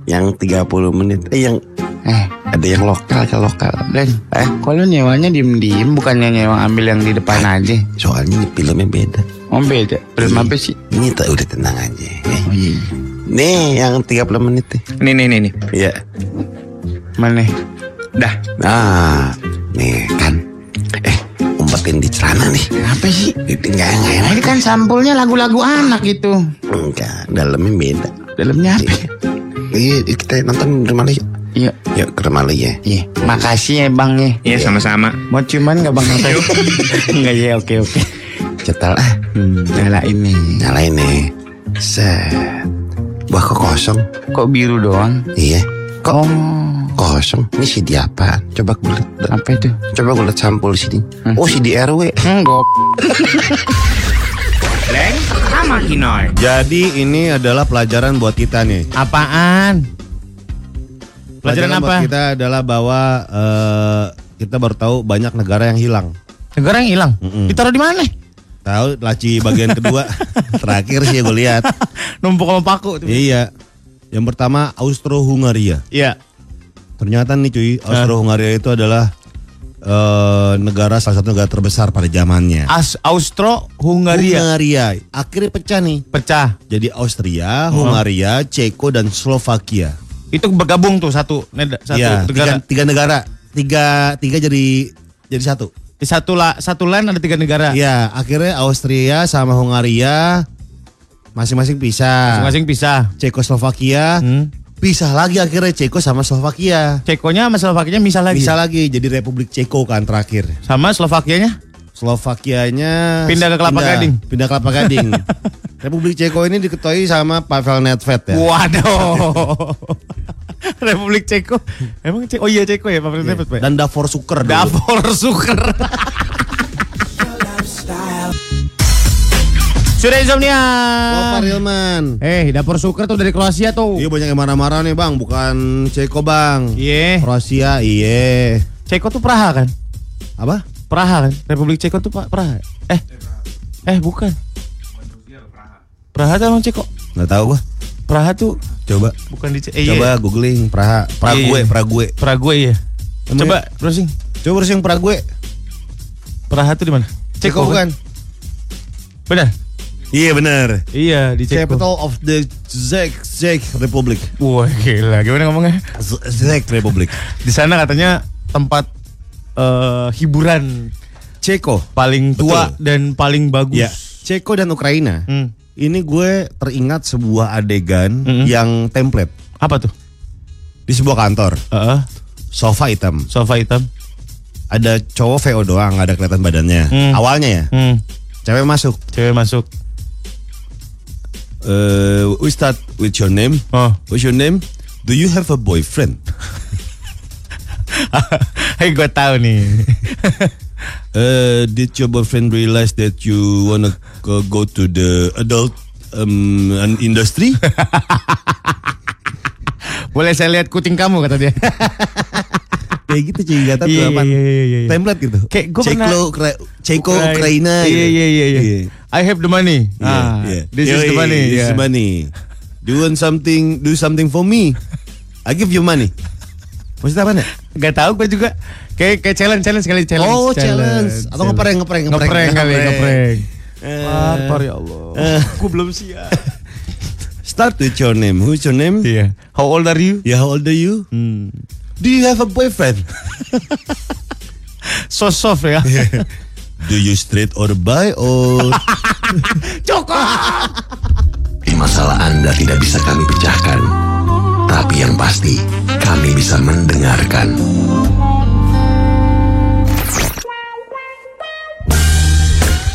Speaker 6: yang 30 menit. Eh yang
Speaker 5: eh,
Speaker 6: ada yang lokal ke lokal.
Speaker 5: Len,
Speaker 6: Eh
Speaker 5: kok lu nyewanya diem-diem bukannya nyewa ambil yang di depan aja?
Speaker 6: soalnya ini filmnya beda.
Speaker 5: Om beda.
Speaker 6: Iya.
Speaker 5: Belum apa sih?
Speaker 6: Ini tak udah tenang aja. Eh, Nih yang 30 menit nih.
Speaker 4: Nih nih nih nih.
Speaker 6: Iya.
Speaker 5: Mana?
Speaker 4: Dah.
Speaker 6: Nah, nih kan. Eh, umpetin di celana nih.
Speaker 5: Apa sih?
Speaker 6: Itu enggak enggak
Speaker 5: Nah,
Speaker 6: enak.
Speaker 5: ini kan sampulnya lagu-lagu anak itu.
Speaker 6: Enggak, dalamnya beda.
Speaker 5: Dalamnya apa? ya?
Speaker 6: Iya, kita nonton di rumah lu yuk.
Speaker 5: Iya.
Speaker 6: Yuk ke rumah lu ya.
Speaker 5: Iya. Makasih ya bang ya.
Speaker 4: Iya sama-sama.
Speaker 5: Mau ciuman nggak bang? Enggak ya, oke oke.
Speaker 6: Cetal ah.
Speaker 5: Hmm, nyala ini.
Speaker 6: Nyalain nih. Set. Wah kok kosong?
Speaker 5: Kok biru doang?
Speaker 6: Iya. Kok
Speaker 5: Oh,
Speaker 6: kosong? Ini CD apaan? Coba gue liat.
Speaker 5: apa itu?
Speaker 6: Coba gue liat sampul sini. Oh CD RW.
Speaker 5: Enggak.
Speaker 4: Leng sama Kinoy.
Speaker 2: Jadi ini adalah pelajaran buat kita nih.
Speaker 3: Apaan? Pelajaran apa?
Speaker 2: buat kita adalah bahwa eh, kita baru tahu banyak negara yang hilang.
Speaker 3: Negara yang hilang.
Speaker 2: Mm-mm.
Speaker 3: Ditaruh di mana?
Speaker 2: Tahu laci bagian kedua terakhir sih gue lihat.
Speaker 3: Numpuk sama paku. tuh.
Speaker 2: iya. Yang pertama Austro-Hungaria.
Speaker 3: Iya.
Speaker 2: Ternyata nih cuy, Austro-Hungaria itu adalah eh, negara salah satu negara terbesar pada zamannya.
Speaker 3: As Austro Hungaria
Speaker 2: Akhirnya pecah nih.
Speaker 3: pecah.
Speaker 2: Jadi Austria,
Speaker 3: Oh.
Speaker 2: Hungaria, Ceko dan Slovakia.
Speaker 3: Itu bergabung tuh satu neda- satu
Speaker 2: Iya,
Speaker 3: negara.
Speaker 2: Tiga, tiga negara. Tiga tiga jadi jadi satu.
Speaker 3: Di satu la, satu lain ada tiga negara.
Speaker 2: Iya, akhirnya Austria sama Hungaria masing-masing pisah.
Speaker 3: Masing-masing pisah.
Speaker 2: Cekoslovakia
Speaker 3: Hmm.
Speaker 2: pisah lagi akhirnya Ceko sama Slovakia.
Speaker 3: Cekonya sama Slovakianya misah lagi.
Speaker 2: Pisah lagi jadi Republik Ceko kan terakhir.
Speaker 3: Sama Slovakianya
Speaker 2: Slovakianya
Speaker 3: Pindah ke Kelapa Gading.
Speaker 2: Pindah Kelapa Gading. Republik Ceko ini diketahui sama Pavel Nedved ya.
Speaker 3: Waduh. Republik Ceko. Emang Ceko? Oh iya Ceko ya, Pak Presiden. Pak.
Speaker 2: Dan Davor Suker. dulu.
Speaker 3: Davor Suker. Sudah insomnia.
Speaker 2: Lopa Rilman.
Speaker 3: Eh, Dapur Suker tuh dari Kroasia tuh.
Speaker 2: Iya banyak yang marah-marah nih bang, bukan Ceko bang.
Speaker 3: Iya.
Speaker 2: Kroasia, iya.
Speaker 3: Ceko tuh Praha kan?
Speaker 2: Apa?
Speaker 3: Praha kan? Republik Ceko tuh Pak Praha. Eh. Eh, bukan. Praha tuh emang Ceko.
Speaker 2: Nggak tahu gua.
Speaker 3: Praha tuh
Speaker 2: Coba,
Speaker 3: bukan di Ceko. Eh,
Speaker 2: coba
Speaker 3: iya.
Speaker 2: googling Praha, Prague,
Speaker 3: Iya.
Speaker 2: Prague.
Speaker 3: Prague ya.
Speaker 2: Emang
Speaker 3: Coba browsing.
Speaker 2: Coba terus yang Prague.
Speaker 3: Praha tuh di mana? kan?
Speaker 2: Ceko bukan?
Speaker 3: Benar.
Speaker 2: Iya benar.
Speaker 3: Iya, di Ceko.
Speaker 2: Capital of the Czech Czech Republic.
Speaker 3: Wah, gila. Gimana ngomongnya?
Speaker 2: Z- Czech Republic.
Speaker 3: Di sana katanya tempat eh, hiburan
Speaker 2: Ceko.
Speaker 3: paling tua
Speaker 2: Betul.
Speaker 3: dan paling bagus.
Speaker 2: Ya. Ceko dan Ukraina.
Speaker 3: Hmm.
Speaker 2: Ini gue teringat sebuah adegan
Speaker 3: Mm-hmm.
Speaker 2: yang template
Speaker 3: Apa tuh?
Speaker 2: di sebuah kantor.
Speaker 3: Heeh,
Speaker 2: Sofa hitam.
Speaker 3: sofa hitam.
Speaker 2: Ada cowok VO doang, nggak ada kelihatan badannya.
Speaker 3: Hmm.
Speaker 2: Awalnya ya.
Speaker 3: Hmm.
Speaker 2: Cewek masuk.
Speaker 3: Cewek masuk.
Speaker 2: Eh, Ustadz, with your name?
Speaker 3: Oh.
Speaker 2: What's your name? Do you have a boyfriend?
Speaker 3: Hei, gue tahu nih.
Speaker 2: Uh, did your boyfriend realize that you wanna go, go to the adult um, an industry?
Speaker 3: Boleh saya lihat kucing kamu kata dia.
Speaker 2: Kayak gitu cuy, gak tau tuh
Speaker 3: Iya,
Speaker 2: apa.
Speaker 3: iya, iya, iya, iya.
Speaker 2: Template gitu.
Speaker 3: Kayak gua pernah-
Speaker 2: Ceklo, Ukra- Ceko, Ukraina.
Speaker 3: Iya,
Speaker 2: gitu.
Speaker 3: iya, iya, iya. I have the money. Ah,
Speaker 2: Iya, iya.
Speaker 3: This is
Speaker 2: Yoi,
Speaker 3: the money.
Speaker 2: This is
Speaker 3: Yeah.
Speaker 2: the money. Do you want something, do something for me? I give you money. Maksudnya apa nih?
Speaker 3: Gak tau gue juga. Kayak kayak challenge challenge kali challenge.
Speaker 2: Oh, challenge. Atau ngeprank, ngeprank, ngeprank.
Speaker 3: Ngeprank kali,
Speaker 2: Ngeprank.
Speaker 3: ngeprank. Lapar ya Allah. Gue belum siap.
Speaker 2: Start with your name. Who's your name?
Speaker 3: Iya. How old are you?
Speaker 2: Yeah, how old are you?
Speaker 3: Hmm.
Speaker 2: Do you have a boyfriend?
Speaker 3: So soft ya.
Speaker 2: Do you straight or bi or
Speaker 6: Masalah Anda tidak bisa kami pecahkan. Tapi yang pasti, kami bisa mendengarkan.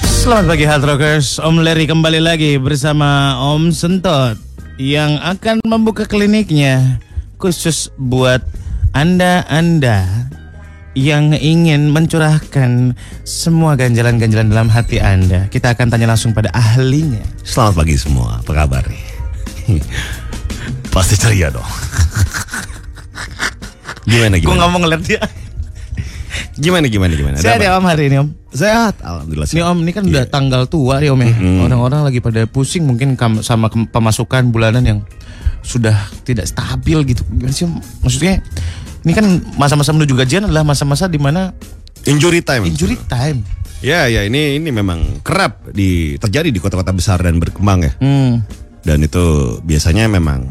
Speaker 3: Selamat pagi Hard Rockers. Om Larry kembali lagi bersama Om Sentot yang akan membuka kliniknya khusus buat Anda-anda yang ingin mencurahkan semua ganjalan-ganjalan dalam hati Anda. Kita akan tanya langsung pada ahlinya.
Speaker 2: Selamat pagi semua, apa kabar nih? Pasti ceria dong. Gimana
Speaker 3: Gue
Speaker 2: gimana?
Speaker 3: nggak mau ngeliat dia.
Speaker 2: Gimana gimana gimana? Ada
Speaker 3: Sehat
Speaker 2: apa?
Speaker 3: ya Om hari ini Om.
Speaker 2: Sehat, alhamdulillah.
Speaker 3: Ini
Speaker 2: sehat. Iya.
Speaker 3: Om ini kan udah tanggal tua nih Om ya. Orang-orang lagi pada pusing mungkin kam- sama kem- pemasukan bulanan yang sudah tidak stabil gitu. Gimana sih Om? Maksudnya ini kan masa-masa menuju gajian adalah masa-masa di mana
Speaker 2: Injury time.
Speaker 3: injury time.
Speaker 2: Ya ya ini ini memang kerap di terjadi di kota-kota besar dan berkembang ya.
Speaker 3: Hmm.
Speaker 2: Dan itu biasanya memang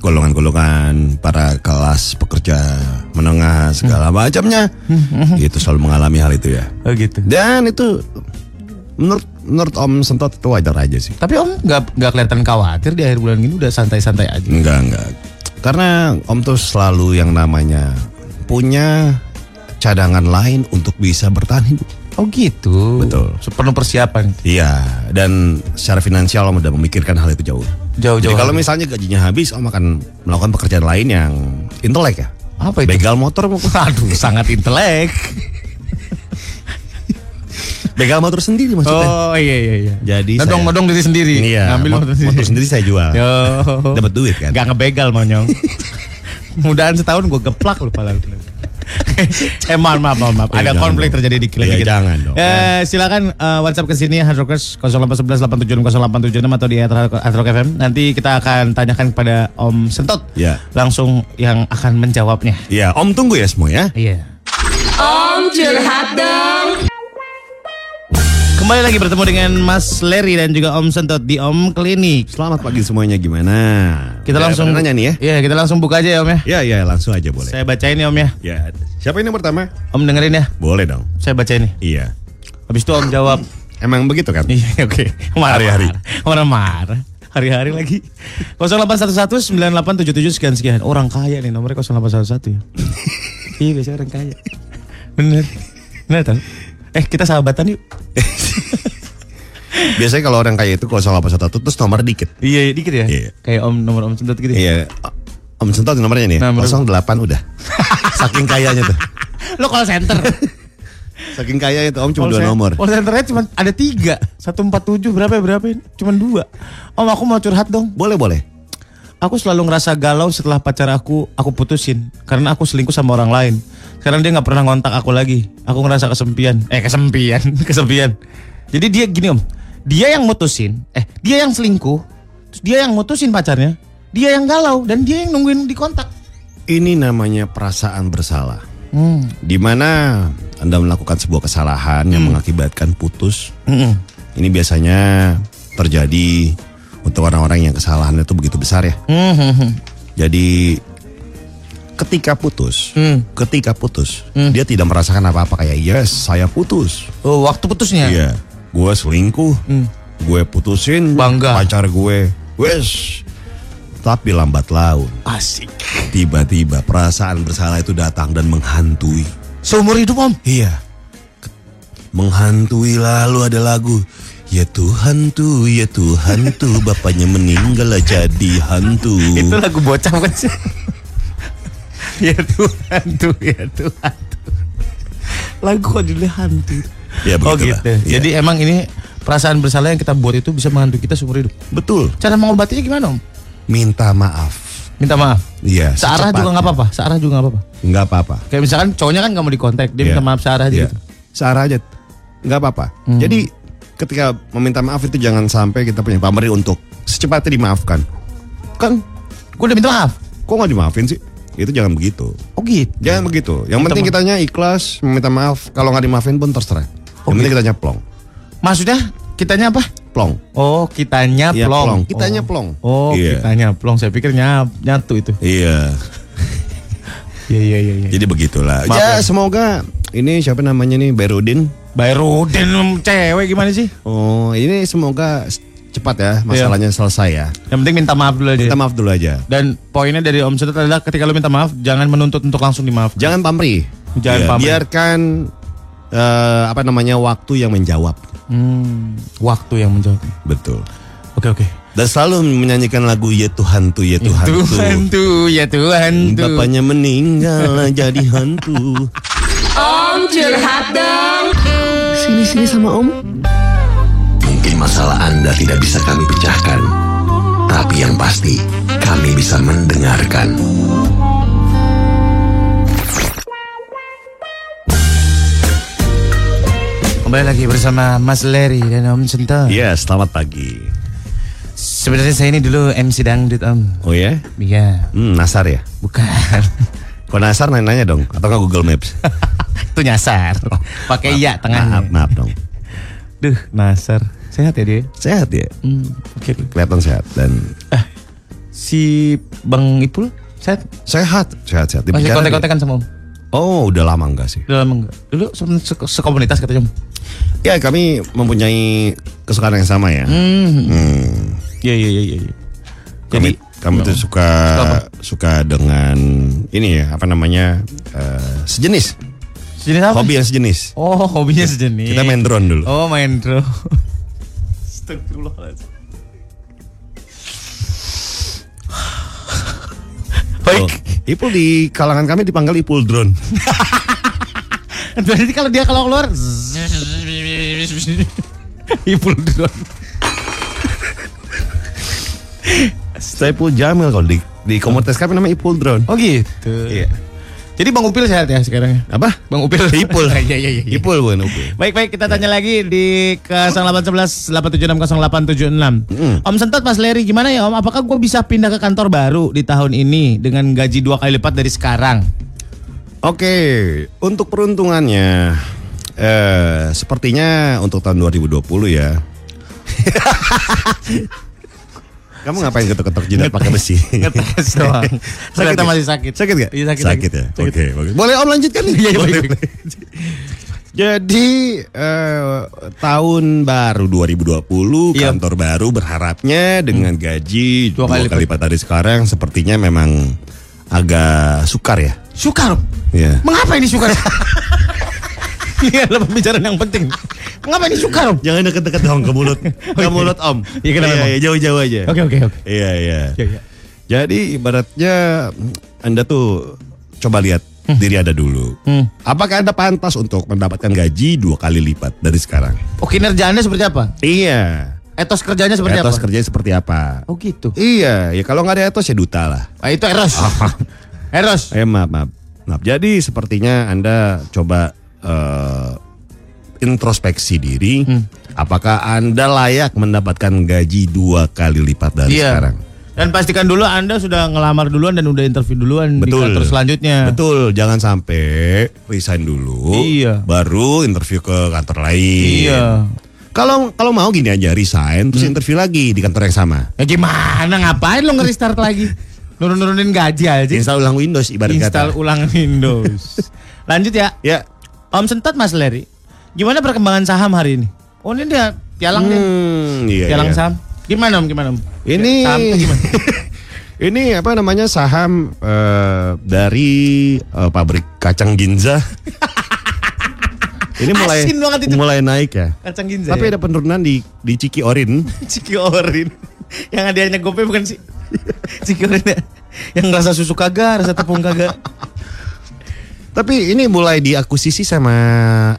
Speaker 2: golongan-golongan para kelas pekerja menengah segala macamnya itu selalu mengalami hal itu ya.
Speaker 3: Oh gitu.
Speaker 2: Dan itu menurut menurut Om Sentot itu wajar aja sih.
Speaker 3: Tapi Om nggak nggak kelihatan khawatir di akhir bulan ini udah santai-santai aja.
Speaker 2: Enggak enggak. Karena Om tuh selalu yang namanya punya cadangan lain untuk bisa bertahan hidup.
Speaker 3: Oh gitu.
Speaker 2: Betul.
Speaker 3: Penuh persiapan.
Speaker 2: Iya, dan secara finansial om udah memikirkan hal itu jauh.
Speaker 3: Jauh-jauh
Speaker 2: Jadi kalau
Speaker 3: hari.
Speaker 2: misalnya gajinya habis, om akan melakukan pekerjaan lain yang intelek ya.
Speaker 3: Apa itu?
Speaker 2: Begal motor mungkin.
Speaker 3: Aduh, sangat intelek.
Speaker 2: Begal motor sendiri maksudnya.
Speaker 3: Oh iya iya iya.
Speaker 2: Jadi saya-
Speaker 3: Nodong nodong diri sendiri.
Speaker 2: Iya,
Speaker 3: Ngambil
Speaker 2: mot-
Speaker 3: motor sendiri.
Speaker 2: motor sendiri saya jual.
Speaker 3: Yo.
Speaker 2: Dapat duit kan.
Speaker 3: Gak ngebegal monyong. Mudahan setahun gue geplak lu pala. lu. eh maaf maaf maaf, maaf.
Speaker 2: Iya,
Speaker 3: ada
Speaker 2: jangan
Speaker 3: konflik
Speaker 2: dong.
Speaker 3: terjadi di kilang
Speaker 2: Iya, jangan dong.
Speaker 3: Eh silakan eh, WhatsApp ke sini Hardrockers 0811 876 0876 atau di Hardrock FM. Nanti kita akan tanyakan kepada Om Sentot.
Speaker 2: Iya.
Speaker 3: Langsung yang akan menjawabnya.
Speaker 2: Iya, om tunggu ya semua ya.
Speaker 3: Iya.
Speaker 1: Om curhat dong.
Speaker 3: Kembali lagi bertemu dengan Mas Leri dan juga Om Sentot di Om Klinik.
Speaker 2: Selamat pagi semuanya gimana?
Speaker 3: Kita
Speaker 2: Ya,
Speaker 3: langsung
Speaker 2: nanya nih ya.
Speaker 3: Iya, kita langsung buka aja ya Om ya.
Speaker 2: Ya ya langsung aja boleh.
Speaker 3: Saya bacain ya Om ya.
Speaker 2: Ya, siapa ini yang pertama?
Speaker 3: Om dengerin ya.
Speaker 2: Boleh dong.
Speaker 3: Saya bacain nih.
Speaker 2: Iya.
Speaker 3: Habis itu Om jawab.
Speaker 2: Emang begitu kan?
Speaker 3: Iya oke.
Speaker 2: Hari-hari.
Speaker 3: Marah-marah. Hari-hari lagi. 0811 9877 sekian sekian. Orang kaya nih nomornya 0811 ya. iya biasanya orang kaya. Bener. Bener tau. Eh kita sahabatan yuk.
Speaker 2: Biasanya kalau orang kaya itu kalau salah pas satu terus nomor dikit.
Speaker 3: Iya, iya, dikit ya.
Speaker 2: Iya.
Speaker 3: Kayak Om nomor Om Sentot gitu.
Speaker 2: Iya. Om Sentot nomornya nih.
Speaker 3: Nomor.
Speaker 2: 08 udah. Saking kayanya tuh.
Speaker 3: Lo call center.
Speaker 2: Saking kayanya tuh Om cuma
Speaker 3: Call
Speaker 2: dua
Speaker 3: cen-
Speaker 2: nomor.
Speaker 3: Call centernya cuma ada tiga. 147 berapa ya berapa ya? Cuma dua. Om aku mau curhat dong.
Speaker 2: Boleh boleh.
Speaker 3: Aku selalu ngerasa galau setelah pacar aku aku putusin karena aku selingkuh sama orang lain. Sekarang dia nggak pernah ngontak aku lagi. Aku ngerasa kesempian. Eh kesempian, kesempian. Jadi dia gini om, dia yang mutusin. Eh dia yang selingkuh, terus dia yang mutusin pacarnya. Dia yang galau dan dia yang nungguin dikontak.
Speaker 2: Ini namanya perasaan bersalah. Di mana Anda melakukan sebuah kesalahan yang mengakibatkan putus. Ini biasanya terjadi untuk orang-orang yang kesalahannya itu begitu besar ya. Jadi ketika putus, ketika putus, dia tidak merasakan apa-apa kayak yes, saya putus.
Speaker 3: Oh waktu putusnya.
Speaker 2: Iya. Gue selingkuh. Gue putusin
Speaker 3: Bangga.
Speaker 2: pacar gue. Wes. Tapi lambat laun,
Speaker 3: Asik.
Speaker 2: tiba-tiba perasaan bersalah itu datang dan menghantui.
Speaker 3: Seumur hidup om.
Speaker 2: Iya. Ke- Menghantui lalu ada lagu. Ya Tuhan tuh, ya Tuhan tuh, bapaknya meninggal lah jadi hantu.
Speaker 3: Itu lagu bocah kan sih. ya Tuhan tuh, ya Tuhan tuh. Lagu kok judulnya hantu.
Speaker 2: Ya,
Speaker 3: oh
Speaker 2: begitulah.
Speaker 3: gitu.
Speaker 2: Iya.
Speaker 3: Jadi emang ini perasaan bersalah yang kita buat itu bisa menghantui kita seumur hidup.
Speaker 2: Betul,
Speaker 3: Cara mengobatinya gimana om?
Speaker 2: minta maaf.
Speaker 3: Minta maaf.
Speaker 2: Iya,
Speaker 3: Searah juga nggak apa-apa. Searah juga nggak apa-apa.
Speaker 2: Enggak apa-apa.
Speaker 3: Kayak misalkan cowoknya kan nggak mau dikontak, dia minta
Speaker 2: Iya.
Speaker 3: maaf searah aja
Speaker 2: Iya. Hmm.
Speaker 3: gitu.
Speaker 2: Searah aja. Nggak apa-apa. Jadi ketika meminta maaf itu jangan sampai kita punya pamrih untuk secepatnya dimaafkan. Kan
Speaker 3: Gue udah minta maaf.
Speaker 2: kok nggak dimaafin sih? Itu jangan begitu.
Speaker 3: Oh gitu.
Speaker 2: Jangan begitu. Yang penting kitanya ikhlas, meminta maaf. Kalau nggak dimaafin pun terserah. Yang penting kitanya plong.
Speaker 3: Maksudnya kitanya apa?
Speaker 2: Plong.
Speaker 3: Oh kitanya
Speaker 2: Iya,
Speaker 3: plong.
Speaker 2: plong. Kitanya
Speaker 3: Oh.
Speaker 2: plong.
Speaker 3: Oh
Speaker 2: Iya.
Speaker 3: kitanya plong. Saya pikir nyap, nyatu itu.
Speaker 2: Iya.
Speaker 3: Iya iya iya. iya.
Speaker 2: Jadi begitulah.
Speaker 3: Maaf
Speaker 2: ya, semoga ini siapa namanya nih Berudin.
Speaker 3: Bayrudin cewek gimana sih?
Speaker 2: Oh, ini semoga cepat ya masalahnya selesai ya.
Speaker 3: Yang penting minta maaf dulu aja.
Speaker 2: Minta maaf dulu aja.
Speaker 3: Dan poinnya dari Om Sentot adalah ketika lu minta maaf, jangan menuntut untuk langsung dimaafkan.
Speaker 2: Jangan pamrih.
Speaker 3: Jangan
Speaker 2: Iya.
Speaker 3: pamrih.
Speaker 2: Biarkan eh, apa namanya waktu yang menjawab.
Speaker 3: Hmm, waktu yang menjawab.
Speaker 2: Betul.
Speaker 3: Oke oke.
Speaker 2: Dan selalu menyanyikan lagu Ya Tuhan tuh Ya Tuhan tuh.
Speaker 3: tuh, ya Tuhan
Speaker 2: Bapaknya meninggal jadi hantu.
Speaker 1: Om curhat dong.
Speaker 6: Mungkin masalah Anda tidak bisa kami pecahkan, tapi yang pasti kami bisa mendengarkan.
Speaker 5: Kembali lagi bersama Mas Larry dan Om Sento.
Speaker 2: Iya, selamat pagi.
Speaker 5: Sebenarnya saya ini dulu MC dangdut Om.
Speaker 2: Oh ya?
Speaker 5: Iya,
Speaker 2: Hmm, nasar ya?
Speaker 5: bukan.
Speaker 2: Kalau nasar nanya-nanya dong, atau nggak Google Maps?
Speaker 5: Itu nyasar. Pakai iya
Speaker 2: maaf,
Speaker 5: tengahnya.
Speaker 2: maaf dong.
Speaker 5: Duh, nasar. Sehat ya dia?
Speaker 2: Sehat ya?
Speaker 5: Hmm, oke.
Speaker 2: Kelihatan sehat dan
Speaker 5: Si Bang Ipul sehat?
Speaker 2: sehat, sehat-sehat.
Speaker 5: Masih
Speaker 2: Dibicara
Speaker 5: kontak-kontakan sama Om?
Speaker 2: dia- Oh, udah lama enggak sih?
Speaker 5: Udah lama enggak? Dulu se- se- sekomunitas katanya Om.
Speaker 2: Ya, kami mempunyai kesukaan yang sama ya.
Speaker 5: Hmm, Iya, iya, iya. iya.
Speaker 2: Kami kami tuh suka suka dengan ini ya, apa namanya? eh, sejenis.
Speaker 5: Sejenis apa?
Speaker 2: Hobi yang sejenis.
Speaker 5: Oh, hobinya sejenis.
Speaker 2: Kita main drone dulu.
Speaker 5: Oh, main drone.
Speaker 2: Oh, Ipul di kalangan kami dipanggil Ipul drone.
Speaker 5: Berarti kalau dia kalau keluar Ipul drone.
Speaker 2: Saya Ipul Jamil kalau di di komunitas kami namanya Ipul drone.
Speaker 5: Oh gitu.
Speaker 2: Iya.
Speaker 5: Jadi Bang Upil sehat ya sekarang ya?
Speaker 2: Apa?
Speaker 5: Bang Upil.
Speaker 2: Ipul.
Speaker 5: Iya, iya, iya.
Speaker 2: Ipul bukan Upil.
Speaker 3: Baik baik kita tanya lagi di ke 0811 876 0876. Om Sentot Mas Leri gimana ya Om? Apakah gue bisa pindah ke kantor baru di tahun ini dengan gaji dua kali lipat dari sekarang?
Speaker 2: Oke, untuk peruntungannya eh sepertinya untuk tahun 2020 ya. Kamu ngapain ketok-ketok jidat pakai besi?
Speaker 5: Ngetes doang.
Speaker 2: ya?
Speaker 5: Ternyata masih sakit.
Speaker 2: Sakit gak?
Speaker 5: Iya, sakit, sakit.
Speaker 2: ya. Oke, bagus. Boleh Om lanjutkan nih.
Speaker 5: Iya, iya,
Speaker 2: Boleh,
Speaker 5: baik, baik.
Speaker 2: boleh. Jadi eh, tahun baru 2020
Speaker 5: Iya. Hmm.
Speaker 2: kantor baru berharapnya dengan gaji dua
Speaker 5: Dua kali
Speaker 2: kali, lipat dari sekarang sepertinya memang agak sukar ya.
Speaker 3: Sukar.
Speaker 2: Iya.
Speaker 3: Mengapa ini sukar? ini adalah pembicaraan yang penting. Mengapa ini sukar? Om?
Speaker 2: Jangan deket-deket dong ke mulut ke mulut Om.
Speaker 3: Iya, kenapa, Om?
Speaker 2: Iya, jauh-jauh aja.
Speaker 3: Oke oke oke.
Speaker 2: Iya, iya.
Speaker 3: Iya, iya.
Speaker 2: Jadi ibaratnya Anda tuh coba lihat
Speaker 3: Hmm.
Speaker 2: diri Anda dulu. Apakah Anda pantas untuk mendapatkan gaji dua kali lipat dari sekarang?
Speaker 3: Oh kinerjaannya seperti apa?
Speaker 2: Iya.
Speaker 3: Etos kerjanya seperti
Speaker 2: etos
Speaker 3: apa?
Speaker 2: kerjanya seperti apa?
Speaker 3: Oh gitu.
Speaker 2: Iya, ya kalau nggak ada etos ya duta lah.
Speaker 3: Ah, itu Eros. Eros.
Speaker 2: Eh maaf, maaf. Maaf. Jadi sepertinya Anda coba eh, introspeksi diri.
Speaker 3: Hmm.
Speaker 2: Apakah Anda layak mendapatkan gaji dua kali lipat dari
Speaker 3: Iya.
Speaker 2: sekarang?
Speaker 3: Dan pastikan dulu Anda sudah ngelamar duluan dan udah interview duluan di kantor selanjutnya.
Speaker 2: Betul, jangan sampai resign dulu.
Speaker 3: Iya.
Speaker 2: Baru interview ke kantor lain.
Speaker 3: Iya. Hmm.
Speaker 2: Kalau kalau mau gini aja resign terus interview lagi di kantor yang sama.
Speaker 3: Ya gimana ngapain lo nge-restart lagi? Nurun-nurunin gaji aja.
Speaker 2: Install ulang Windows ibarat
Speaker 3: Install
Speaker 2: kata.
Speaker 3: ulang Windows. Lanjut ya.
Speaker 2: Ya.
Speaker 3: Om Sentot Mas Leri. Gimana perkembangan saham hari ini? Oh ini dia pialang nih.
Speaker 2: Hmm, iya,
Speaker 3: Pialang
Speaker 2: iya.
Speaker 3: saham. Gimana Om? Gimana Om?
Speaker 2: Ini
Speaker 3: saham tuh gimana?
Speaker 2: Ini apa namanya saham eh, dari eh, pabrik kacang Ginza. ini mulai
Speaker 3: Asin banget itu.
Speaker 2: mulai naik ya.
Speaker 3: Kacang ginza.
Speaker 2: Tapi
Speaker 3: ya?
Speaker 2: ada penurunan di di Ciki Orin.
Speaker 3: Ciki Orin. Yang hadiahnya gope bukan sih? Ciki Orin ya. Yang rasa susu kagak, rasa tepung kagak.
Speaker 2: Tapi ini mulai diakuisisi sama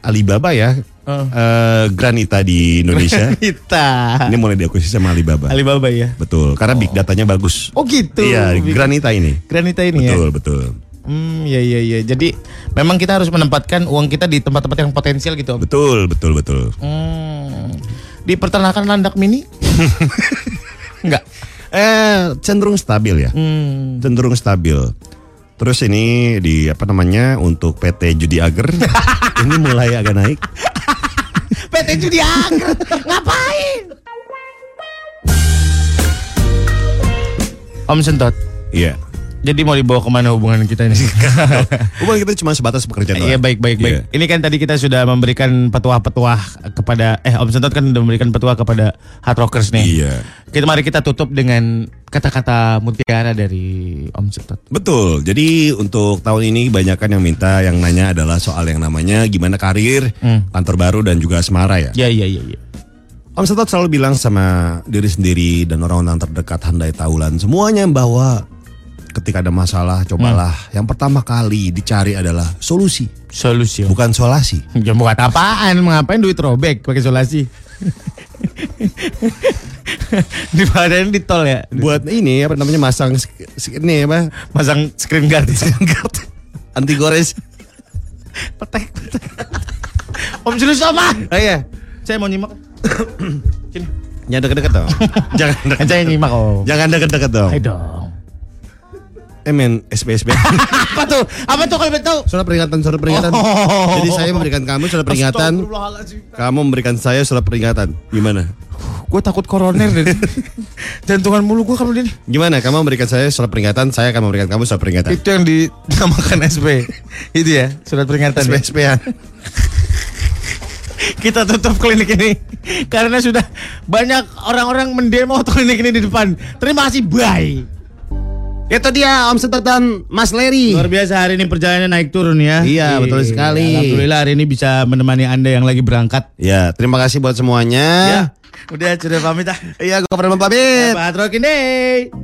Speaker 2: Alibaba ya.
Speaker 3: Oh.
Speaker 2: Eh, Granita di Indonesia.
Speaker 3: Kita.
Speaker 2: ini mulai diakuisisi sama Alibaba.
Speaker 3: Alibaba ya.
Speaker 2: Betul, karena big datanya bagus.
Speaker 3: Oh gitu.
Speaker 2: Iya, Granita ini.
Speaker 3: Granita ini ya.
Speaker 2: Betul, betul.
Speaker 3: Hmm, ya ya ya. Jadi memang kita harus menempatkan uang kita di tempat-tempat yang potensial gitu. Om.
Speaker 2: Betul, betul, betul.
Speaker 3: Hmm. Di peternakan landak mini? Enggak.
Speaker 2: Eh, cenderung stabil ya.
Speaker 3: Hmm.
Speaker 2: cenderung stabil. Terus ini di apa namanya untuk PT Judi Ager ini mulai agak naik.
Speaker 3: PT judi angker. Ngapain? Om Sentot,
Speaker 2: Iya.
Speaker 3: jadi mau dibawa kemana hubungan kita ini?
Speaker 2: Umum kita cuma sebatas pekerjaan doang.
Speaker 3: Iya baik baik baik.
Speaker 2: Iya.
Speaker 3: Ini kan tadi kita sudah memberikan petuah-petuah kepada eh Om Sentot kan sudah memberikan petuah kepada Hard Rockers nih.
Speaker 2: Iya.
Speaker 3: Kita mari kita tutup dengan kata-kata mutiara dari Om Sentot.
Speaker 2: Betul. Jadi untuk tahun ini banyakkan yang minta yang nanya adalah soal yang namanya gimana karir,
Speaker 3: Hmm.
Speaker 2: kantor baru dan juga asmara ya.
Speaker 3: Ya ya ya ya.
Speaker 2: Om Setot selalu bilang sama diri sendiri dan orang-orang terdekat handai taulan semuanya bahwa ketika ada masalah cobalah yang pertama kali dicari adalah solusi,
Speaker 3: Solusi.
Speaker 2: bukan solasi.
Speaker 3: Ya buat apaan? Ngapain duit robek pakai solasi? di badan di tol ya.
Speaker 2: buat ini apa namanya masang sk- sk- ini apa
Speaker 3: Masang screen guard.
Speaker 2: anti gores
Speaker 3: petek petek. Om Julius apa? Oh iya. Saya mau nyimak.
Speaker 2: Jangan deket-deket dong. Jangan deket.
Speaker 3: Kan Saya nyimak om.
Speaker 2: Jangan deket-deket dong.
Speaker 3: Ayo dong.
Speaker 2: Eh men, SPSB.
Speaker 3: Apa tuh? Apa tuh kalau boleh tahu?
Speaker 2: surat peringatan, surat peringatan.
Speaker 3: Oh.
Speaker 2: Jadi saya memberikan kamu surat peringatan. Kamu memberikan saya surat peringatan. Gimana?
Speaker 3: Gue takut koroner deh. Jantungan mulu gue kalau ini.
Speaker 2: Gimana? Kamu memberikan saya surat peringatan, saya akan memberikan kamu surat peringatan.
Speaker 3: Itu yang dinamakan SP. Itu ya, surat peringatan. ya?
Speaker 2: SPSB ya.
Speaker 3: Kita tutup klinik ini karena sudah banyak orang-orang mendemo klinik ini di depan. Terima kasih, bye.
Speaker 2: Itu dia Om Setot dan Mas Leri.
Speaker 3: Luar biasa hari ini perjalanannya naik turun ya.
Speaker 2: Iya, betul
Speaker 3: Iya,
Speaker 2: sekali.
Speaker 3: Alhamdulillah hari ini bisa menemani Anda yang lagi berangkat.
Speaker 2: Ya, terima kasih
Speaker 3: Ya.
Speaker 2: buat semuanya.
Speaker 3: Udah sudah pamit ah. Ya, Eh,
Speaker 2: Iya, gue pernah pamit.
Speaker 3: Pak Rokin deh.